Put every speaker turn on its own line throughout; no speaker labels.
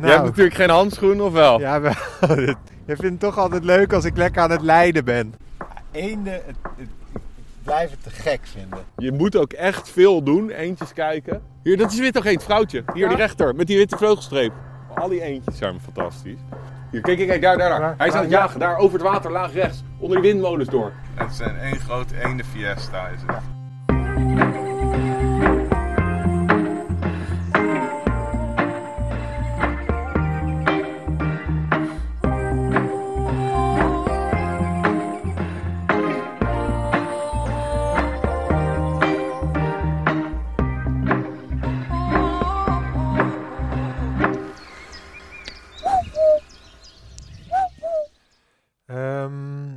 Je hebt natuurlijk geen handschoen, of wel?
Ja, wel. Nou, Je vindt het toch altijd leuk als ik lekker aan het lijden ben.
Eenden, het, het, ik blijf het te gek vinden.
Je moet ook echt veel doen. Eentjes kijken. Hier, dat is weer toch geen vrouwtje. Hier, die rechter, met die witte vleugelstreep. Al die eentjes zijn fantastisch. Hier, kijk, kijk, kijk, daar, daar, daar. Hij is aan het jagen, daar, over het water, laag rechts. Onder die windmolens door.
Het zijn één grote eende fiesta is het.
Ehm,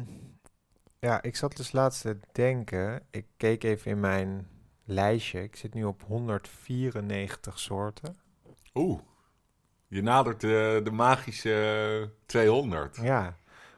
ja, ik zat dus laatst te denken. Ik keek even in mijn lijstje. Ik zit nu op 194 soorten.
Oeh, je nadert eh, de, de magische 200.
Ja,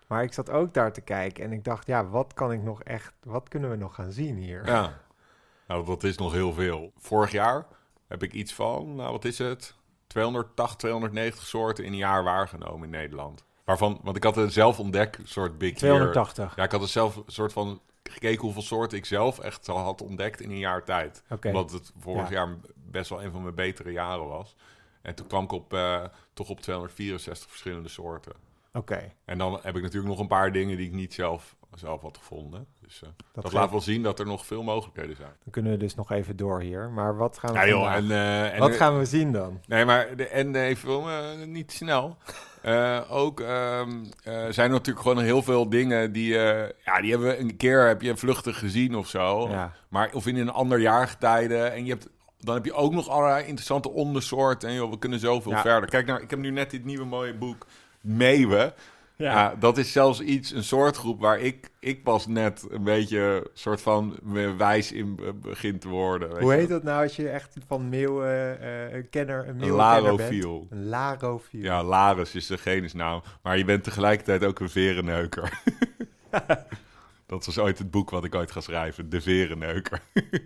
maar ik zat ook daar te kijken en ik dacht, ja, wat kan ik nog echt, wat kunnen we nog gaan zien hier?
Ja, nou dat is nog heel veel. Vorig jaar heb ik iets van, nou wat is het, 280, 290 soorten in een jaar waargenomen in Nederland. Waarvan, want ik had een zelf ontdek soort big year.
280.
Ja, ik had er zelf een soort van gekeken hoeveel soorten ik zelf echt al had ontdekt in een jaar tijd.
Oké.
Omdat het vorig
Ja.
jaar best wel een van mijn betere jaren was. En toen kwam ik op, eh, toch op 264 verschillende soorten.
Oké,
En dan heb ik natuurlijk nog een paar dingen die ik niet zelf, zelf had gevonden. Dus eh, dat,
geeft-
laat wel zien dat er nog veel mogelijkheden zijn.
dan kunnen we dus nog even door hier. Maar wat gaan we,
Ja joh,
Oh, vandaag-
en, eh, en
wat
er-
gaan we zien dan?
Nee, maar de eh, ND film niet snel. Eh, ook ehm, eh, zijn er natuurlijk gewoon heel veel dingen die, eh, ja, die hebben we een keer heb je vluchtig gezien of zo.
Ja.
Maar of in een ander jaargetijde. En je hebt, dan heb je ook nog allerlei interessante ondersoorten. En joh, we kunnen zoveel
Ja.
verder. Kijk nou, ik heb nu net dit nieuwe mooie boek Meeuwen. Ja, dat is zelfs iets, een soortgroep waar ik, ik pas net een beetje soort van me wijs in eh, begin te worden. weet
Hoe
je.
heet dat nou als je echt van meeuwen eh, een kenner, een meeuwenkenner bent?
larofiel.
Een larofiel.
Ja, Laris is de genusnaam, maar je bent tegelijkertijd ook een verenneuker. dat was ooit het boek wat ik ooit ga schrijven, De Verenneuker.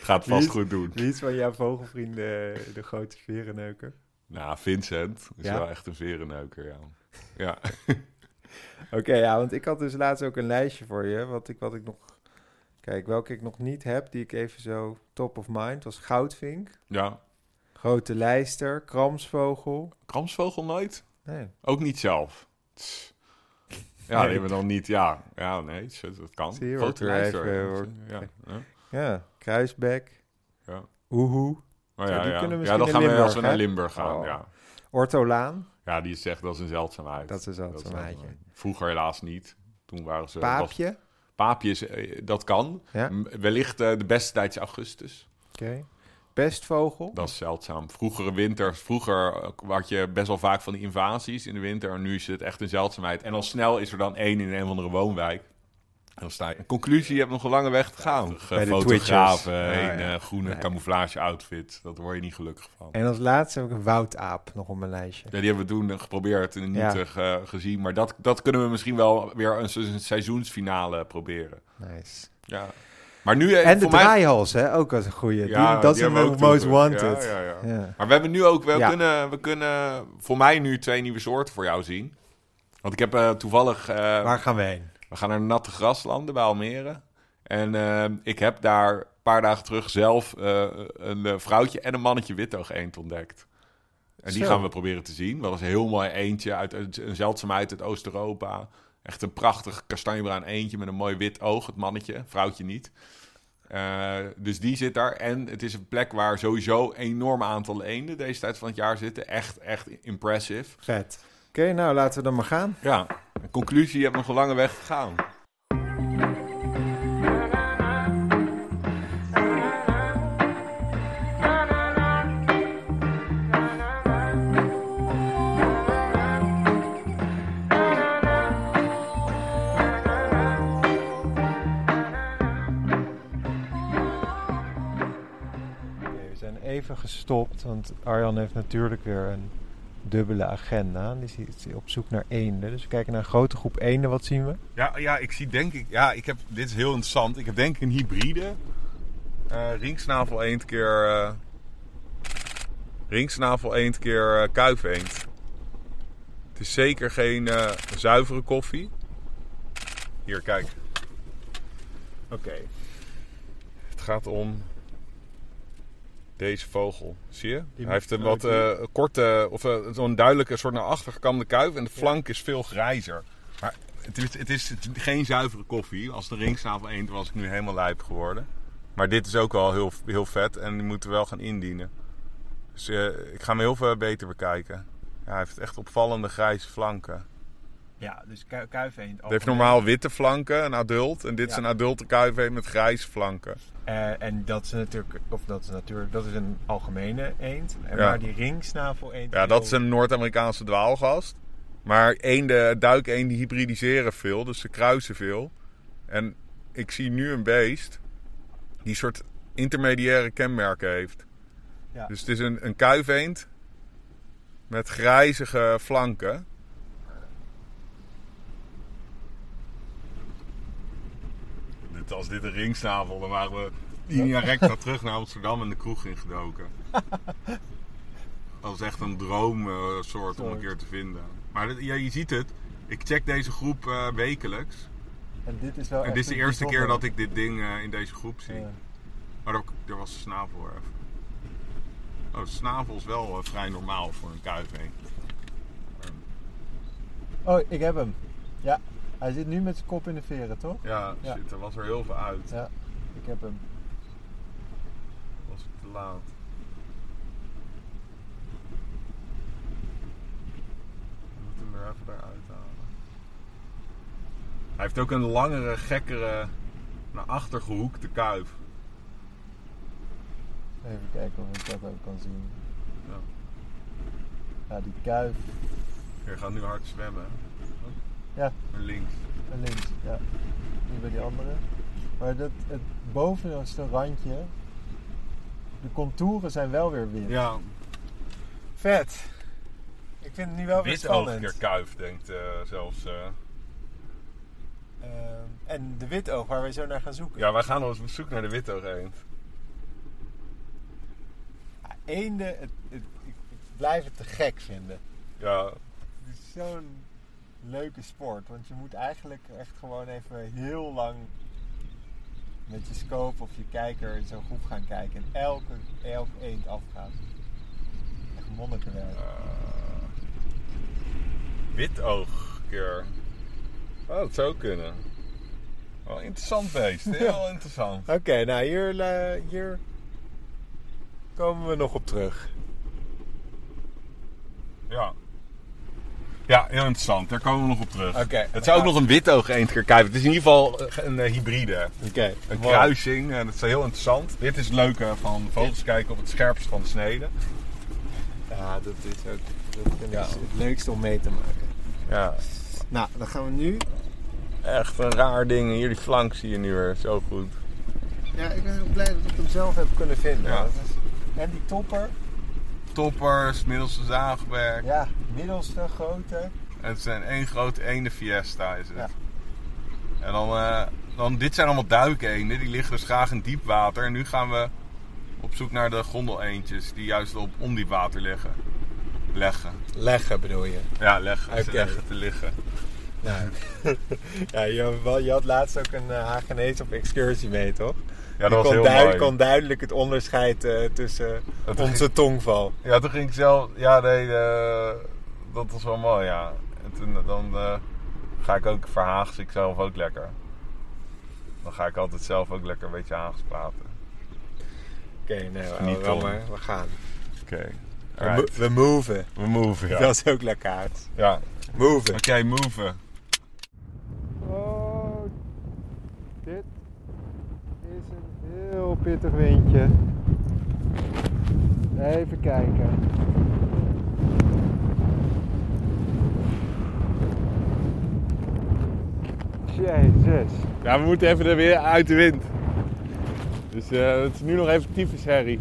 Gaat
Wie
vast
is-
goed doen.
Wie is van jouw vogelvrienden eh, de grote verenneuker?
Nou, Vincent is
Ja?
wel echt een verenneuker, ja. Ja,
Oké, ja, want ik had dus laatst ook een lijstje voor je. Wat ik, wat ik nog. Kijk, welke ik nog niet heb, die ik even zo top of mind was goudvink,
ja.
grote lijster, kramsvogel.
Kramsvogel nooit?
Nee.
Ook niet zelf. Tss. Ja,
Nee.
die hebben we dan niet, ja. Ja, nee, shit, dat kan.
Zie je, wordt
Grote
er
lijster.
even, wordt-
Ja, ja.
Ja, kruisbek.
Ja.
Oehoe.
Maar
Ja,
ja,
die
ja.
kunnen we
ja,
misschien
dan
in
gaan we
Limburg,
als we
hè?
naar Limburg gaan,
Oh.
ja.
Ortolaan.
Ja, die is echt, dat is een zeldzaamheid.
Dat is een zeldzaamheid,
een zeldzaamheid. Vroeger helaas niet. Toen waren ze... was-
Paapje.
paapje is, eh, dat kan.
Ja.
M- Wellicht eh, de beste tijd is augustus.
Oké. Pestvogel.
Dat is zeldzaam. Vroegere winters, vroeger eh, had je best wel vaak van die invasies in de winter. En nu is het echt een zeldzaamheid. En al snel is er dan één in een of andere woonwijk. En dan sta je. Een conclusie, je hebt nog een lange weg te gaan.
Bij de
Fotografen
Twitchers. Ja,
in
ja.
eh, groene camouflage outfit. Dat word je niet gelukkig van.
En als laatste heb ik een woudaap nog op mijn lijstje.
Ja, die hebben we toen eh, geprobeerd en niet
Ja.
eh, ge- gezien. Maar dat, dat kunnen we misschien wel weer een, se- een seizoensfinale proberen.
Nice.
Ja. Maar nu eh,
En de
voor mij-
draaihals, hè? Ook als een goede.
Ja,
dat is
die hebben
mijn
we ook
most
toegevoegd.
wanted.
Ja, ja, ja.
Ja.
Maar we hebben nu ook, we,
Ja.
kunnen, we kunnen voor mij nu twee nieuwe soorten voor jou zien. Want ik heb eh, toevallig, eh,
Waar gaan we heen?
we gaan naar natte graslanden bij Almere. En eh, ik heb daar een paar dagen terug zelf eh, een eh, vrouwtje en een mannetje witoog eend ontdekt. En die
Zo.
gaan we proberen te zien. Dat is een heel mooi eentje uit uit- een zeldzaamheid uit Oost-Europa. Echt een prachtig kastanjebruin eentje met een mooi wit oog, het mannetje, vrouwtje niet. Eh, dus die zit daar. En het is een plek waar sowieso een enorm aantal eenden deze tijd van het jaar zitten. Echt, echt impressive.
Vet. Oké, nou laten we dan maar gaan.
Ja, een conclusie, je hebt nog een lange weg gegaan.
Oké, we zijn even gestopt, want Arjan heeft natuurlijk weer een dubbele agenda. Die is- is op zoek naar eenden. Dus we kijken naar een grote groep eenden. Wat zien we?
Ja, ja, ik zie denk ik... Ja, ik heb, dit is heel interessant. Ik heb denk ik een hybride. eh ringsnavel eend keer... eh, Ringsnavel eend keer eh, kuifeend. Het is zeker geen eh, zuivere koffie. Hier, kijk.
Oké.
Het gaat om deze vogel. Zie je?
Die
Hij heeft een
moet-
wat eh, korte, of eh, zo'n duidelijke soort naar achter gekamde kuif. En de flank is veel grijzer. Maar het is, het is geen zuivere koffie. Als de ringsnavel eend was ik nu helemaal lijp geworden. Maar dit is ook wel heel, heel vet en die moeten we wel gaan indienen. Dus eh, ik ga hem heel veel beter bekijken. Ja, hij heeft echt opvallende grijze flanken.
Ja, dus ku kuifeend.
Het heeft normaal witte flanken, een adult. En dit is
Ja.
een adulte kuifeend met grijze flanken.
Eh, en dat is natuurlijk, of dat is natuurlijk, dat is een algemene eend. En
Ja.
Maar die ringsnavel eend.
Ja, dat is een Noord-Amerikaanse dwaalgast. Maar eenden, duikeenden hybridiseren veel, dus ze kruisen veel. En ik zie nu een beest die soort intermediaire kenmerken heeft.
Ja.
Dus het is een, een kuiveend met grijzige flanken. Dit, als dit een ringsnavel, dan waren we linea recta terug naar Amsterdam en de kroeg ingedoken. Dat was echt een droomsoort soort om een keer te vinden. Maar dit- ja, je ziet het. Ik check deze groep eh, wekelijks.
En dit is wel.
En
echt
dit is de
een
eerste keer
bijzonder-
dat ik dit ding eh, in deze groep zie.
Ja.
Maar ook, er was de snavel er even. Oh, de snavel is wel eh, vrij normaal voor een kuifheen.
Oh, ik heb hem. Ja, hij zit nu met zijn kop in de veren, toch?
Ja,
Ja.
Shit, er was er heel veel uit.
Ja, ik heb hem.
Was ik te laat. We moeten hem er even daaruit halen. Hij heeft ook een langere, gekkere, naar achter gehoekte kuif.
Even kijken of ik dat ook kan zien.
Ja.
Ja, die kuif
Je gaat nu hard zwemmen.
Ja.
En links.
en links. Ja, niet bij die andere. Maar dat, het bovenste randje, de contouren zijn wel weer wit.
Ja,
Vet. Ik vind het nu wel weer
wit oog
spannend.
keer kuif, denkt eh, zelfs. eh.
Ehm,
En de witoog waar wij zo naar gaan zoeken.
Ja, wij gaan op zoek naar de witte eend.
eenden, het, het, ik, ik blijf het te gek vinden.
Ja,
Het is zo'n leuke sport, want je moet eigenlijk echt gewoon even heel lang met je scope of je kijker in zo'n groep gaan kijken en elke, elke eend afgaan. Echt monnikenwerk.
Eh, wit oog keer. Oh, dat zou kunnen. Wel interessant beest. Heel interessant.
Oké, nou hier, hier komen we nog op terug.
Ja. Ja, heel interessant. Daar komen we nog op terug.
Oké.
Het zou ook nog een wit oog eend keer kijken. Het is in ieder geval eh, een eh, hybride.
Oké,
Een kruising, en dat is heel interessant. Dit is het leuke van vogels kijken op het scherpst van de snede.
Ja, dat is ook dat vind ik
Ja.
het leukste om mee te maken.
Ja,
Nou, dan gaan we nu.
echt een raar ding. Hier die flank zie je nu weer zo goed.
Ja, ik ben heel blij dat ik hem zelf heb kunnen vinden.
Ja.
Dat is- En die topper,
Toppers, middelste zaagwerk.
ja, middelste, grote.
Het is een één grote ene fiesta is het.
Ja.
En dan, eh, dan, dit zijn allemaal duikeenden. Die liggen dus graag in diep water. En nu gaan we op zoek naar de gondeleendjes. Die juist op ondiep water liggen. Leggen.
Leggen bedoel je.
Ja, leggen. Ze
Oké.
leggen te liggen.
Nou, ja, je, wel- je had laatst ook een eh, Hagenees op excursie mee, toch?
Ja,
Je
dat was
kon,
heel
duid-
mooi.
kon duidelijk het onderscheid eh, tussen
Dat
onze
ging-
tongval.
Ja, toen ging ik zelf... Ja, nee, eh, dat was wel mooi, ja. En toen, dan eh, ga ik ook verhaags ik zelf ook lekker. Dan ga ik altijd zelf ook lekker een beetje Haags praten.
Oké, nee, we
Niet
wel
om.
maar, we gaan.
Oké.
We, mo- we moven.
We move, ja.
Dat is ook lekker uit.
ja.
Moven.
Oké, move.
Oh, dit is een heel pittig windje. Even kijken. Jezus.
Ja, we moeten even er weer uit de wind. Dus eh, het is nu nog even tyfus herrie.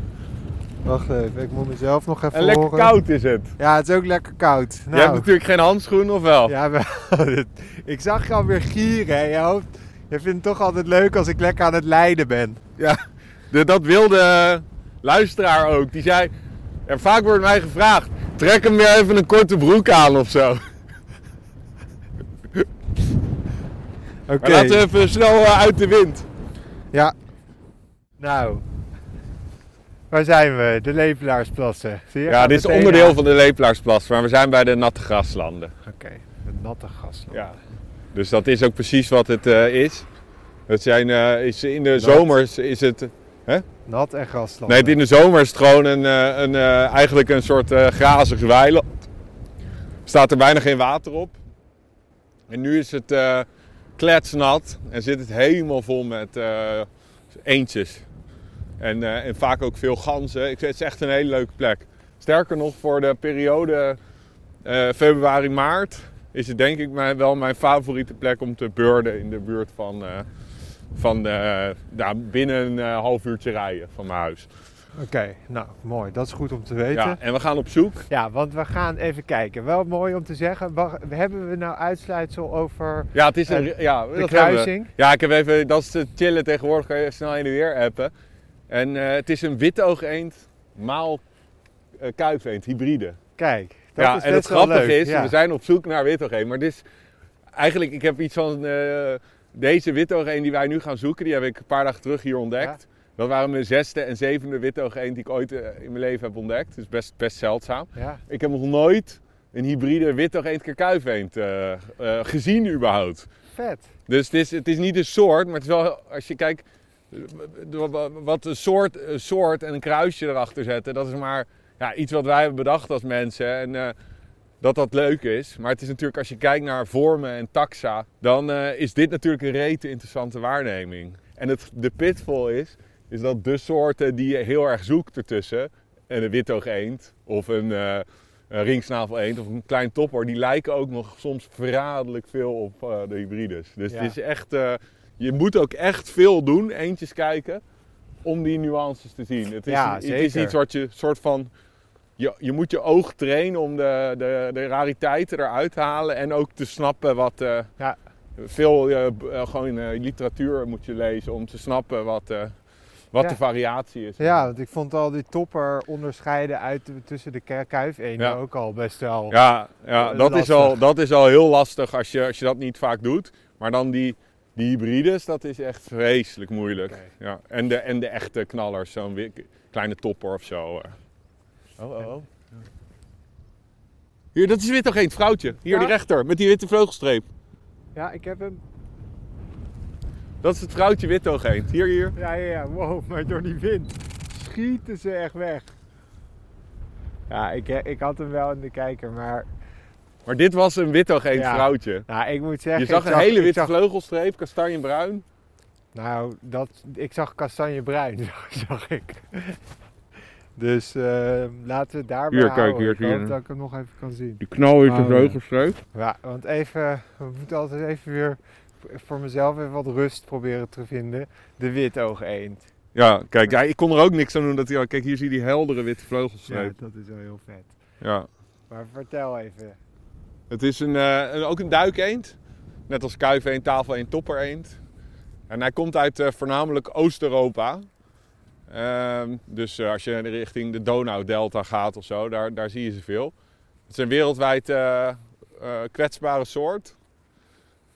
Wacht even, ik moet mezelf nog even
En lekker
horen.
koud is het.
Ja, het is ook lekker koud.
Je hebt natuurlijk geen handschoen, of wel?
ja, we- ik zag je alweer gieren. hè. Je, hoopt, je vindt het toch altijd leuk als ik lekker aan het lijden ben.
eh,
Ja, de- dat wilde luisteraar ook. Die zei,
En vaak wordt mij gevraagd: trek hem weer even een korte broek aan of zo.
Oké.
Maar laten we even snel eh, uit de wind.
Ja. Nou. Waar zijn we? De Levelaarsplassen. Zie je?
Ja,
Gaan
dit is
meteen
onderdeel
aan.
van de Leplaarsplas, maar we zijn bij de natte graslanden.
Oké, de natte gasland.
Ja. Dus dat is ook precies wat het eh, is. Het zijn, eh, is in de zomers is het.
Nat en grasland.
Nee, in de zomer is het gewoon een, eh, een, eh, eigenlijk een soort eh grazig weiland. Staat er bijna geen water op. En nu is het eh, kletsnat en zit het helemaal vol met eh, eendjes. En, eh, en vaak ook veel ganzen. Ik, het is echt een hele leuke plek. Sterker nog, voor de periode eh, februari-maart is het denk ik mijn, wel mijn favoriete plek om te beurden in de buurt van, eh, van eh, nou, binnen een eh, half uurtje rijden van mijn huis.
Oké, nou mooi. Dat is goed om te weten.
Ja,
Ja.
en we gaan op zoek.
want we gaan even kijken. Wel mooi om te zeggen. wa- hebben we nou uitsluitsel over
Ja, het is een.
En de
ja, dat hebben we.
kruising?
Ja, ik heb even. Dat is het chillen tegenwoordig. Kan je even snel heen en weer appen. En eh, het is een witte oogeend maal eh kuifeend, hybride.
Kijk, dat
ja,
is
en
best
het
wel
grappige
leuk,
is,
ja.
we zijn op zoek naar witogeend. Maar dit is eigenlijk, ik heb iets van eh, deze witogeend die wij nu gaan zoeken, die heb ik een paar dagen terug hier ontdekt. Dat waren mijn zesde en zevende witogeend die ik ooit eh, in mijn leven heb ontdekt. Dus best, best zeldzaam.
Ja,
Ik heb nog nooit een hybride witogeend keer kuifeend eh, eh, gezien überhaupt.
vet.
Dus het is, het is niet een soort, maar het is wel, als je kijkt, eh, w- w- wat een soort, een soort en een kruisje erachter zetten, dat is maar ja, iets wat wij hebben bedacht als mensen. En eh, dat dat leuk is. Maar het is natuurlijk, als je kijkt naar vormen en taxa, dan eh, is dit natuurlijk een rete interessante waarneming. En het, de pitfall is, is dat de soorten die je heel erg zoekt ertussen, en een witoog eend of een, eh een ringsnavel eend of een klein topper, die lijken ook nog soms verraderlijk veel op eh, de hybrides. Dus
Ja.
het is echt, eh, je moet ook echt veel doen, eentjes kijken, om die nuances te zien. Het is,
Ja,
het is
zeker.
iets wat je soort van je, je moet je oog trainen om de, de, de rariteiten eruit te halen en ook te snappen wat. eh,
Ja.
Veel eh, b- eh, gewoon eh, literatuur moet je lezen om te snappen wat, eh, wat
Ja.
de variatie is.
Ja, want ik vond al die topper onderscheiden uit de- tussen de ku- kuifeenden
Ja.
ook al best wel.
Ja, ja
Eh,
dat, is
lastig.
al, dat is al heel lastig als je, als je dat niet vaak doet. Maar dan die, die hybrides, dat is echt vreselijk moeilijk.
Oké.
Ja. En, de, en de echte knallers, zo'n wi- kleine topper of zo. eh.
Oh, oh, oh.
Hier, dat is weer toch geen vrouwtje. Hier,
Ja.
die rechter, met die witte vleugelstreep.
Ja, ik heb hem.
Dat is het vrouwtje witoogheend. Hier, hier.
Ja, ja, ja. Wow, maar door die wind schieten ze echt weg. Ja, ik, he- ik had hem wel in de kijker, maar
Maar dit was een witoogheend
Ja.
vrouwtje.
nou, ik moet zeggen...
Je zag
ik
een hele
ik
witte
zag-
vleugelstreep, kastanjebruin.
Nou, dat, ik zag kastanjebruin, zag ik. Dus eh, laten we het daarbij
Hier, kijk,
houden.
hier,
ik
hier.
hoop dat ik hem nog even kan zien.
Die knal
heeft een
vleugelstreep.
Ja, want even, we moeten altijd even weer voor mezelf even wat rust proberen te vinden. De witoogeend.
Ja, kijk, ja, ik kon er ook niks aan doen. Dat, ja, kijk, hier zie je die heldere witte vleugelstreep.
dat is wel heel vet.
Ja.
Maar vertel even.
Het is een, eh, een- ook een duikeend. Net als kuifeend, tafeleend, toppereend. En hij komt uit eh, voornamelijk Oost-Europa. Ehm, dus eh, als je richting de Donaudelta gaat of zo, daar, daar zie je ze veel. Het is een wereldwijd eh, eh, kwetsbare soort.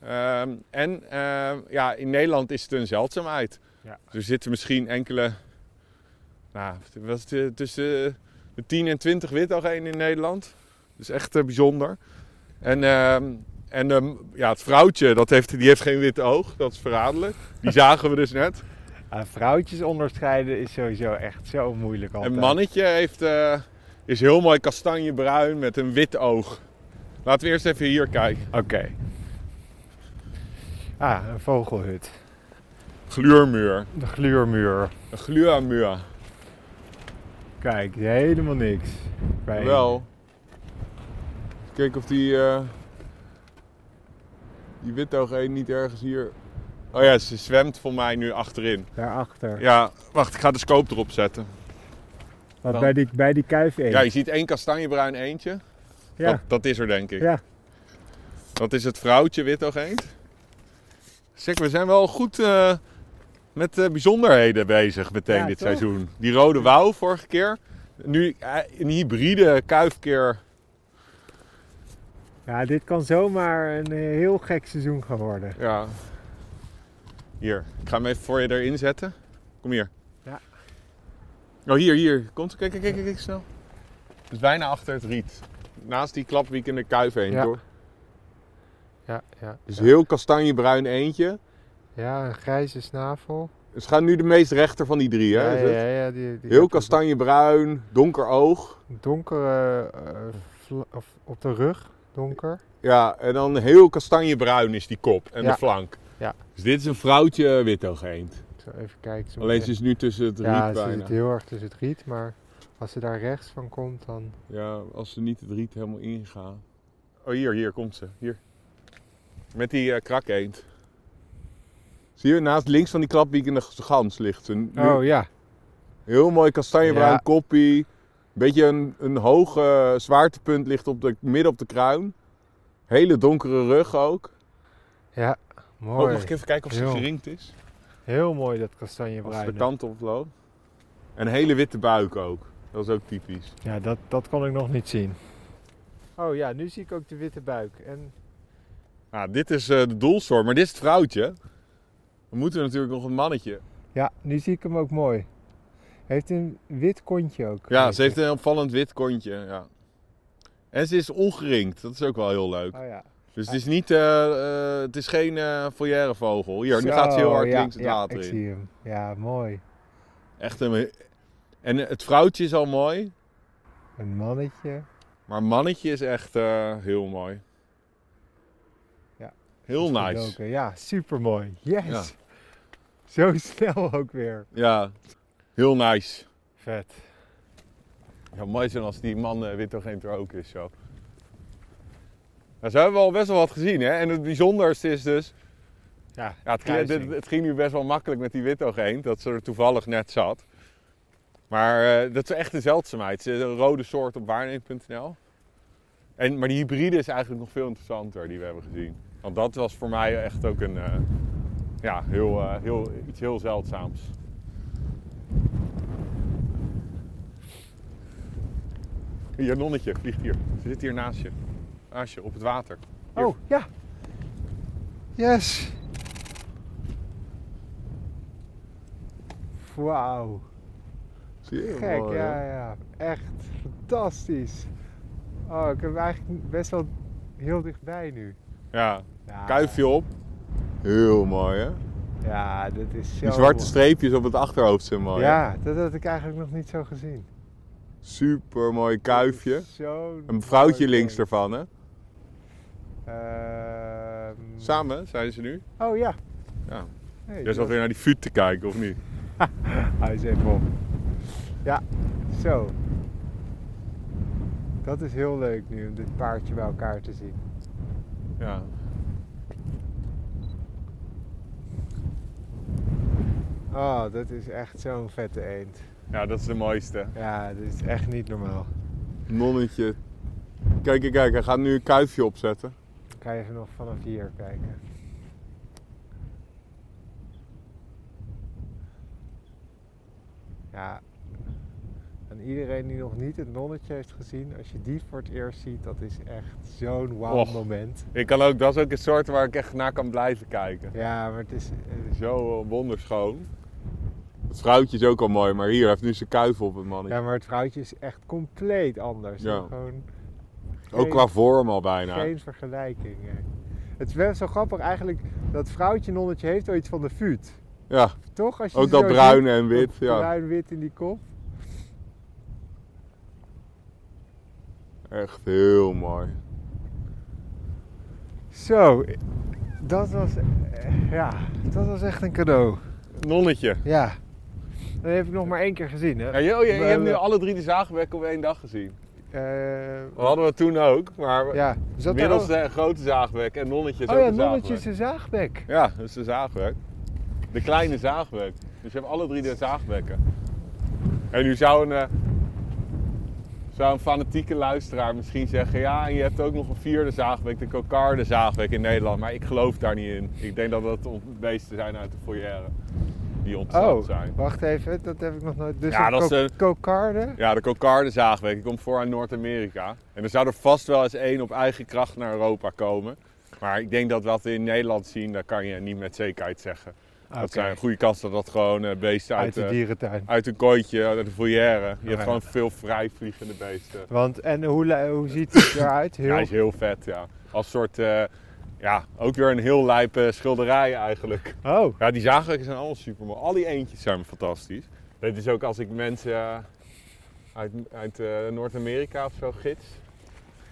Ehm, en eh, ja, in Nederland is het een zeldzaamheid.
Ja.
Dus er zitten misschien enkele, nou, was het, eh, tussen de 10 en 20 wit al in Nederland. Dus echt eh, bijzonder. En, ehm, en ehm, ja, het vrouwtje, dat heeft, die heeft geen wit oog. Dat is verraderlijk. Die zagen we dus net.
Ah, vrouwtjes onderscheiden is sowieso echt zo moeilijk altijd.
Een mannetje heeft, eh, is heel mooi kastanjebruin met een wit oog. Laten we eerst even hier kijken.
Oké. Ah, een vogelhut.
Gluurmuur.
De gluurmuur.
Een gluurmuur.
Kijk, helemaal niks. Bij-
Wel. Eens kijken of die. eh die witoog één niet ergens hier. Oh ja, ze zwemt voor mij nu achterin.
Daarachter.
Ja, wacht, ik ga de scope erop zetten.
Wat, bij die, bij die kuifeend.
Ja, je ziet één kastanjebruin eentje.
Ja.
Dat, dat is er denk ik.
Ja.
Dat is het vrouwtje witogeend. Zeg, we zijn wel goed eh, met eh, bijzonderheden bezig meteen
Ja,
dit
toch?
seizoen. Die rode wouw vorige keer.
Nu eh, een hybride kuifkeer.
Ja, dit kan zomaar een eh, heel gek seizoen gaan worden.
Ja. Hier, ik ga hem even voor je erin zetten. Kom hier.
Ja.
Oh, hier, hier. Komt. Kijk, kijk, kijk, kijk, kijk, snel. Het is bijna achter het riet. Naast die klapwiek in de kuif heen.
Ja.
Door.
Ja, ja.
Dus heel kastanjebruin eentje.
ja, een grijze snavel.
Ze gaan nu de meest rechter van die drie, hè? is het?
die, die
Heel kastanjebruin, donker oog.
Donkere, eh, vla- of op de rug, donker.
Ja, en dan heel kastanjebruin is die kop en
Ja.
de flank.
Ja.
Dus dit is een vrouwtje witogeend.
Ik zal even kijken. zo
Alleen
meteen.
ze is nu tussen het riet
Ja, ze
bijna.
zit heel erg tussen het riet, maar als ze daar rechts van komt, dan...
Ja, als ze niet het riet helemaal ingaan. Oh, hier, hier komt ze. Hier. Met die eh, krakeend. Zie je, naast links van die klapwiekende gans ligt ze. Nu-
Oh ja,
Heel mooi kastanjebruin
Ja.
koppie. Beetje een, een hoog eh, zwaartepunt ligt op de, midden op de kruin. Hele donkere rug ook.
ja,
Oh,
mooi.
mag ik even kijken of ze
Heel.
geringd is?
Heel mooi dat
Als ze de
kastanjebruin.
kant op loopt. En een hele witte buik ook. Dat is ook typisch.
Ja, dat, dat kon ik nog niet zien. Oh ja, nu zie ik ook de witte buik. En
Nou, dit is eh, de doelsoort, maar dit is het vrouwtje. We moeten natuurlijk nog een mannetje.
ja, nu zie ik hem ook mooi. Hij heeft een wit kontje ook.
Ja, ze heeft een opvallend wit kontje. Ja. En ze is ongeringd. Dat is ook wel heel leuk.
Oh ja.
Dus het is, niet, eh, eh, het is geen eh foyère vogel. Hier, nu gaat ze heel
Zo,
hard
ja,
links het
ja,
water
ik
in.
zie hem. Ja, mooi.
Echt een... En het vrouwtje is al mooi,
Een mannetje.
maar mannetje is echt eh, heel mooi.
Ja.
Heel
Is
nice.
gedoken. Ja, super mooi. Yes.
Ja.
Zo snel ook weer.
Ja, heel nice.
Vet.
Het zou mooi zijn als die man uh, witogeen er ook is zo. Nou, ze hebben al best wel wat gezien hè. En het bijzonderste is dus,
Ja,
ja, het, ging,
kruising.
dit- het ging nu best wel makkelijk met die witogeen, dat ze er toevallig net zat. Maar eh, dat is echt een zeldzaamheid. Ze is een rode soort op waarneming.nl. En, maar die hybride is eigenlijk nog veel interessanter die we hebben gezien. Want dat was voor mij echt ook een, eh, ja, heel, eh, heel, iets heel zeldzaams. Hier, nonnetje, vliegt hier. Ze zit hier naast je. Naast je, op het water. Hier.
Oh, ja. Yes. Wauw.
Zie je?
Gek,
Mooi, hè?
ja, ja. Echt fantastisch. Oh, ik heb hem eigenlijk best wel heel dichtbij nu.
Ja,
Ja,
kuifje op. Heel mooi, hè?
Ja, dat is zo...
Die zwarte streepjes op het achterhoofd zijn mooi. hè?
Ja, dat had ik eigenlijk nog niet zo gezien.
Super mooi kuifje.
Zo
Een vrouwtje links ervan, hè?
Ehm,
Samen zijn ze nu.
Oh ja.
Ja.
Hey,
Jij zat weer naar die fut te kijken, of niet?
Hij is even op. Ja, zo. Dat is heel leuk nu om dit paardje bij elkaar te zien.
Ja.
Oh, dat is echt zo'n vette eend.
Ja, dat is de mooiste.
Ja, dit is echt niet normaal.
Nonnetje. Kijk, kijk, kijk. Hij gaat nu een kuifje opzetten.
Ik ga even nog vanaf hier kijken. Ja, aan iedereen die nog niet het nonnetje heeft gezien, als je die voor het eerst ziet, dat is echt zo'n wauw
Och.
moment.
Ik kan ook, dat is ook een soort waar ik echt naar kan blijven kijken.
Ja, maar het is, het is
Zo eh, wonderschoon. Het vrouwtje is ook al mooi, maar hier, hij heeft nu zijn kuif op het mannetje.
Ja, maar het vrouwtje is echt compleet anders.
Ja.
Gewoon
ook qua vorm al bijna.
geen vergelijking. hè. Het is wel zo grappig eigenlijk dat vrouwtje nonnetje heeft wel iets van de fuut.
Ja,
Toch? Als je
ook
ze
Oh, dat
zo
bruine
ziet,
en wit.
dat
Ja.
Bruin-wit in die kop.
Echt heel mooi.
Zo, dat was, eh, ja, dat was echt een cadeau.
Nonnetje.
Ja. Dat heb ik nog maar één keer gezien, hè?
Ja, je, je, je hebt nu alle drie de zaagbekken op één dag gezien.
Eh,
Dat hadden we toen ook, maar
ja. Zat daar
middels
ook-
de grote zaagbek en nonnetje is
Oh
ook
ja,
een
nonnetjes
zaagbek.
en zaagbek.
Ja, dat is de zaagbek. De kleine zaagbek. Dus je hebt alle drie de zaagbekken. En nu zou een, eh, zou een fanatieke luisteraar misschien zeggen... ja, en je hebt ook nog een vierde zaagbek, de kokarde zaagbek in Nederland. Maar ik geloof daar niet in. Ik denk dat dat om- beesten zijn uit de foyer. die ontsnapt
Oh,
zijn.
wacht even, dat heb ik nog nooit. Dus
Ja,
een
dat is,
ko-
eh,
kokarde?
Ja, de kokardenzaagweg. Ik kom voor aan Noord-Amerika. En er zou er vast wel eens één op eigen kracht naar Europa komen. Maar ik denk dat wat we in Nederland zien, dat kan je niet met zekerheid zeggen.
Oké.
Dat zijn een goede kans dat dat gewoon eh, beesten
Uit
uit,
de
eh,
dierentuin.
uit een kooitje, eh, uit de foyer. Je
Ja.
hebt gewoon veel vrij vliegende beesten.
Want, en hoe, li- hoe ziet het eruit?
Ja,
Heel
hij is heel vet, ja. Als soort, eh, ja, ook weer een heel lijpe schilderij eigenlijk.
Oh,
Ja, die zaagwerken zijn allemaal super mooi. Al die eentjes zijn fantastisch. Dit is ook als ik mensen eh, uit, uit eh, Noord-Amerika of zo gids,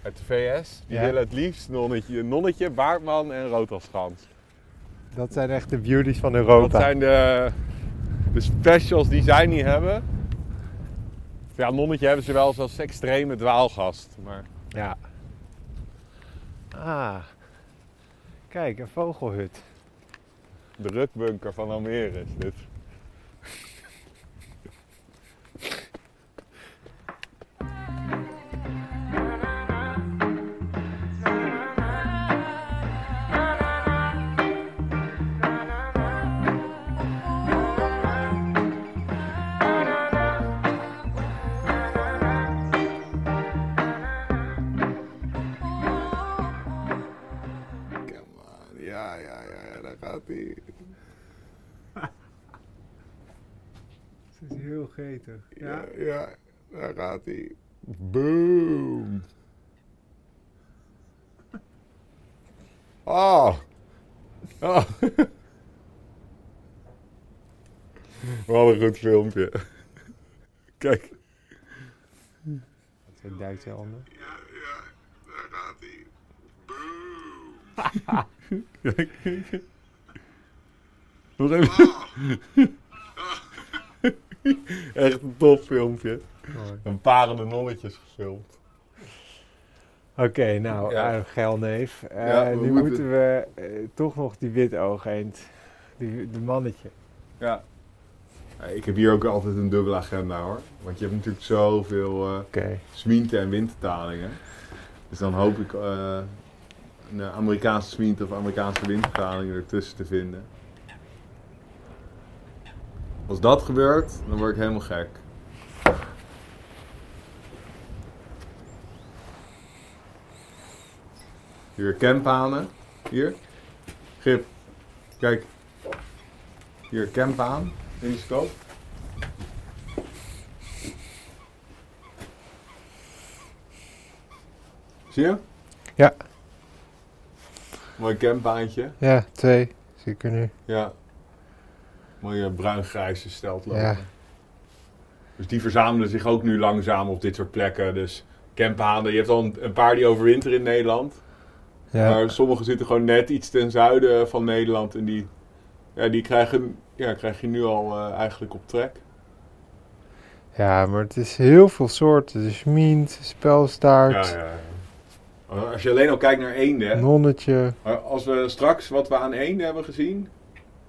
uit de VS, die
Ja.
willen het liefst nonnetje, nonnetje baardman en roodhalsgans.
dat zijn echt de beauties van Europa.
Dat zijn de, de specials die zij niet hebben. Ja, nonnetje hebben ze wel eens als extreme dwaalgast, maar...
Ja. Ah. Kijk, een vogelhut.
De rukbunker van Almere is dit. Ja, ja, ja, daar gaat hij.
Het is heel getig.
ja, daar gaat hij. Boom. Ah. ah. Wat een goed filmpje. Kijk.
Het duikt heel onder.
Ja, ja, daar gaat hij. Boom. Nog even. Echt een tof filmpje.
Mooi.
Een parende nonnetjes gefilmd.
Oké, nou,
Ja.
eh, Gelneef. eh,
Ja, we
nu
moeten-
moeten we eh, toch nog die witoogend. Die, de mannetje.
Ja. Ik heb hier ook altijd een dubbele agenda hoor. Want je hebt natuurlijk zoveel eh
Oké.
smienten en wintertalingen. Dus dan hoop ik eh, een Amerikaanse smient of Amerikaanse wintertaling ertussen te vinden. Als dat gebeurt, dan word ik helemaal gek. Hier, kemphanen. Hier. Gip. Kijk. Hier, kemphaan. In de scope. Zie je?
Ja.
Mooi kemphaantje.
Ja, twee. Zie ik er nu.
Ja. Mooie bruin-grijze stelt lopen.
Ja.
Dus die verzamelen zich ook nu langzaam op dit soort plekken. Dus kemphanen, je hebt al een, een paar die overwinteren in Nederland. Maar sommige zitten gewoon net iets ten zuiden van Nederland. En die, ja, die krijgen, ja, krijg je nu al eh, eigenlijk op trek.
ja, maar het is heel veel soorten. De schmient, spelstaart,
Ja, ja, ja. Maar Als je alleen al kijkt naar eenden. hè.
nonnetje.
Maar Als we straks wat we aan eenden hebben gezien,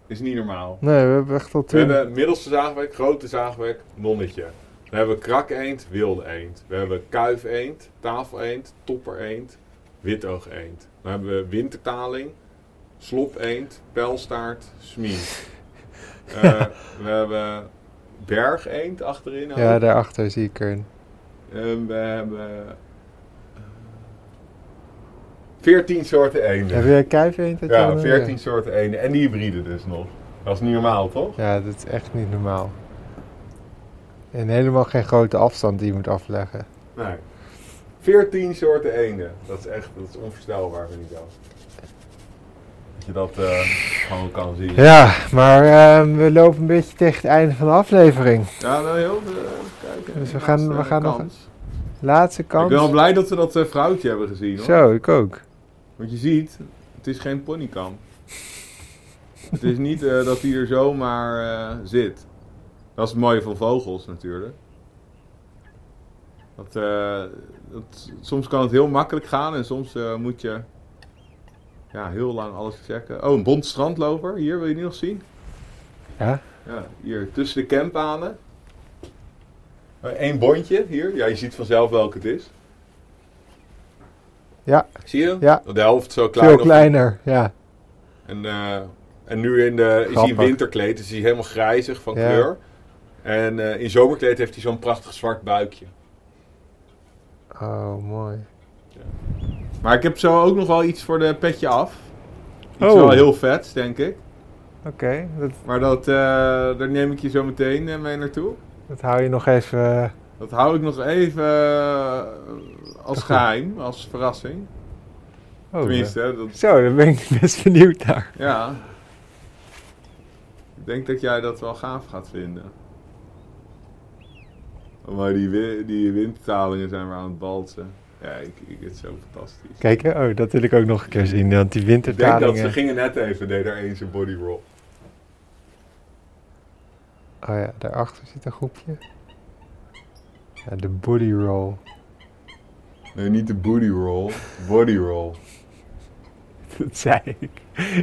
is niet normaal.
Nee, we hebben echt al
We
twintig.
hebben middelste zaagwerk, grote zaagwerk, nonnetje. We hebben krak eend, wilde eend. We hebben kuif eend, tafel eend, topper eend, witoog eend. Dan hebben we wintertaling, slop eend, pijlstaart, smien. Eh, we hebben berg eend achterin. ook.
Ja, daarachter zie ik er een.
En Ehm, we hebben eh, 14 soorten eenden.
Heb jij kuif eend? uit
Ja,
Jannen?
14 soorten eenden. En die hybride dus nog. Dat is niet normaal, toch?
Ja, dat is echt niet normaal. En helemaal geen grote afstand die je moet afleggen.
Nee. 14 soorten eenden. Dat is echt dat is onvoorstelbaar, vind ik dat. Dat je dat eh, gewoon kan zien.
Ja, maar eh, we lopen een beetje tegen het einde van de aflevering.
Ja, nou joh, we kijken.
Dus we gaan- we
eh,
gaan nog-
kans.
Laatste
Ik ben wel
kans.
blij dat we dat eh, vrouwtje hebben gezien, hoor.
Zo, ik ook.
Want je ziet, het is geen ponykan. het is niet eh, dat hij er zomaar eh, zit. Dat is het mooie van vogels natuurlijk. Dat, eh, dat, soms kan het heel makkelijk gaan en soms eh, moet je ja, heel lang alles checken. Oh, een bont strandloper. Hier, wil je die nog zien?
Ja?
Ja, hier tussen de campanen. Eén bondje hier. Ja, je ziet vanzelf welk het is.
Ja.
Zie je?
Ja.
De helft zo klein.
Veel
of-
kleiner, ja.
en eh, En nu in de, is hij in
Grappig.
winterkleed, dus hij is helemaal grijzig van
Ja.
kleur. En eh, in zomerkleed heeft hij zo'n prachtig zwart buikje.
Oh, mooi.
Maar ik heb zo ook nog wel iets voor de petje af. Iets
Oh.
wel heel vets, denk ik.
Oké, dat,
Maar dat, eh, daar neem ik je zo meteen eh, mee naartoe.
dat hou je nog even... eh,
Dat hou ik nog even eh, als geheim, als verrassing.
Oh,
Tenminste, hè, dat,
eh, Zo, dan ben ik best benieuwd naar.
ja. Ik denk dat jij dat wel gaaf gaat vinden. Maar die, wi- die windtalingen zijn weer aan het balsen. Ja, ik, ik het is zo fantastisch.
Kijk, hè, oh, dat wil ik ook nog een keer zien. Want die
Ik denk dat
wintertalingen...
ze gingen net even, deed er eens een bodyroll.
Oh ja, daarachter zit een groepje. Ja, de body roll.
Nee, niet de booty roll, body roll.
Dat zei ik.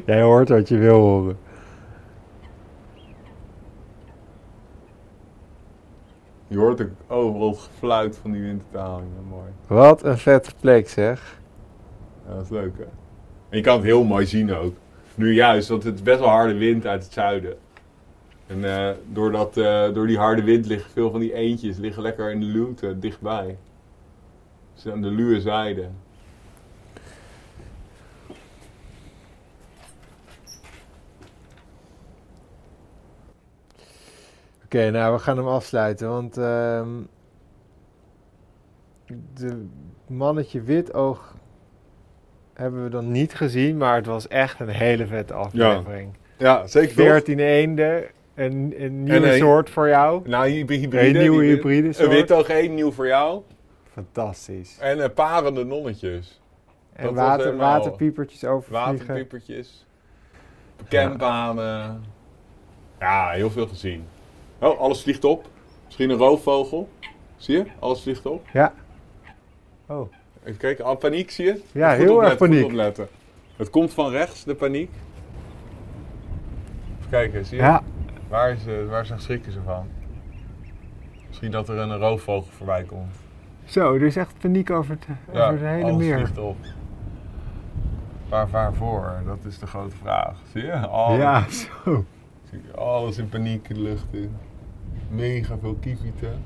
Jij hoort wat je wil horen.
Je hoort ook overal het gefluit van die wintertalingen, mooi.
Wat een vette plek zeg.
Ja, dat is leuk, hè? En je kan het heel mooi zien ook. Nu juist, want het is best wel harde wind uit het zuiden. En eh, door, dat, eh, door die harde wind liggen veel van die eendjes liggen lekker in de luwte, dichtbij. Ze zijn aan de luwe zijde.
Oké, nou we gaan hem afsluiten, want ehm, de mannetje witoog hebben we dan niet gezien, maar het was echt een hele vette aflevering.
Ja, zeker
14 eenden, een, een nieuwe
een-
soort voor jou.
Nou, hy- hybride.
Een nieuwe
die-
hybride
Een
soort.
witoog één, nieuw voor jou.
Fantastisch.
En eh, parende nonnetjes.
En
was
water,
helemaal-
waterpiepertjes overvliegen.
Waterpiepertjes. Campanen. Ja, heel veel gezien. Oh, alles vliegt op. Misschien een roofvogel. Zie je? Alles vliegt op.
Ja. Oh.
Even kijken, al paniek zie je?
Ja,
Goed
heel erg
opletten,
paniek.
Goed opletten. Het komt van rechts, de paniek. Even kijken, zie je?
Ja,
Waar, is, eh, waar zijn schrikken ze van? Misschien dat er een roofvogel voorbij komt.
zo, er is echt paniek over het, over het hele
alles
meer.
vliegt op. Maar waarvoor? Dat is de grote vraag. Zie je? Alles,
Ja, zo.
zie je? alles in paniek in de lucht in. Mega veel kievieten.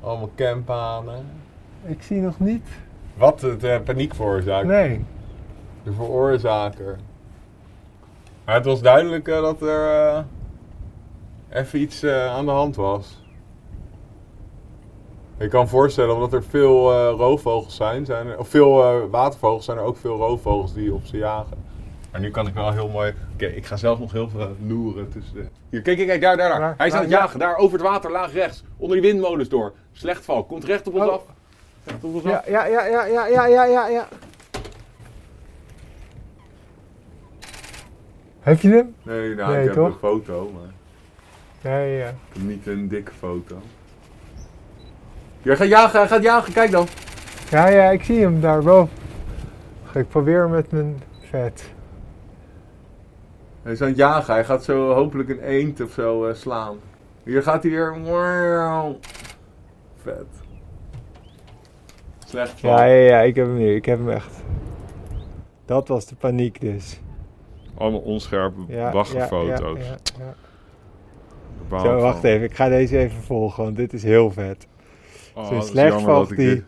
Allemaal campanen.
Ik zie nog niet.
Wat het eh, paniek veroorzaakt.
Nee.
De veroorzaker. Maar het was duidelijk eh, dat er eh, even iets eh, aan de hand was. Ik kan me voorstellen, omdat er veel eh, roofvogels zijn, zijn er, of veel eh, watervogels, zijn er ook veel roofvogels die op ze jagen. Maar nu kan ik wel heel mooi. Oké, ik ga zelf nog heel veel eh, loeren tussen de.
Hier, kijk, kijk, kijk, daar, daar, daar.
Waar?
Hij is aan
Waar?
het jagen, daar, over het water, laag rechts. Onder die windmolens door. Slecht val, komt recht op ons
Oh.
af. Recht op ons
Ja,
af.
ja, ja, ja, ja, ja, ja, ja, ja. Heb je hem?
Nee, nou,
Nee,
ik heb
toch?
een foto, maar
Ja, ja, ja.
ik heb niet een dikke foto.
Hier, hij gaat jagen, hij gaat jagen, kijk dan.
Ja, ja, ik zie hem daarboven. Ik probeer met mijn vet.
Hij is aan het jagen. Hij gaat zo hopelijk een eend of zo eh, slaan. Hier gaat hij weer. Wauw. Vet. Slecht
Ja,
val.
ja, ja, ik heb hem nu. Ik heb hem echt. Dat was de paniek dus.
Allemaal onscherpe
Ja,
baggerfoto's.
Ja, ja, ja.
Bepaald
Zo, wacht
van-
even. Ik ga deze even volgen, want dit is heel vet.
Oh,
Zo'n
dat is
slecht
jammer dat
valt
ik
die
dit-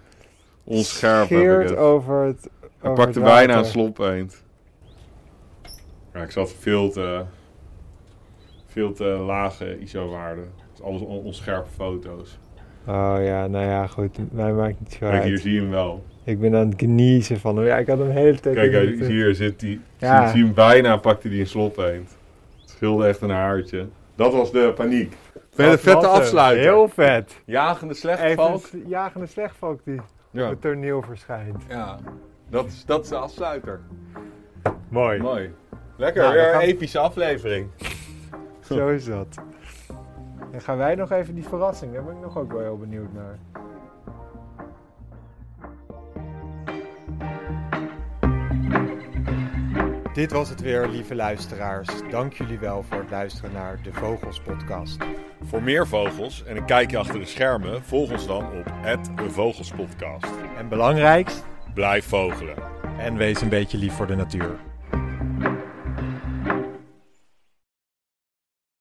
Onscherp heb ik
scheert
het.
over het
Hij
over
pakte
het water.
bijna een slop eend. Ja, ik zat veel te, veel te lage ISO-waarden. Dus alles on- onscherpe foto's.
Oh ja, nou ja, goed. Mij maakt niet zo
Kijk,
uit.
hier zie je hem wel.
Ik ben aan het geniezen van hem. Ja, ik had hem de hele tijd...
Kijk,
in de-
hij- hier zit hij.
Ja.
Zie, zie hem bijna pakte hij een slot eend. Het scheelde echt een haartje. Dat was de paniek. Vette,
Dat
vette
was hem.
afsluiter.
Heel vet.
Jagende
Even
slechtvalk.
een jagende slechtvalk die op
Ja.
het toneel verschijnt.
ja. Dat, is, dat is de afsluiter.
Mooi.
Mooi. Lekker,
Nou, dan
weer een
gaan we-
epische aflevering.
Zo is dat. Dan gaan wij nog even die verrassing. Daar ben ik nog ook wel heel benieuwd naar. Dit was het weer, lieve luisteraars. Dank jullie wel voor het luisteren naar de Vogels podcast.
Voor meer vogels en een kijkje achter de schermen, volg ons dan op het Vogelspodcast.
En belangrijkst,
Blijf vogelen.
En wees een beetje lief voor de natuur.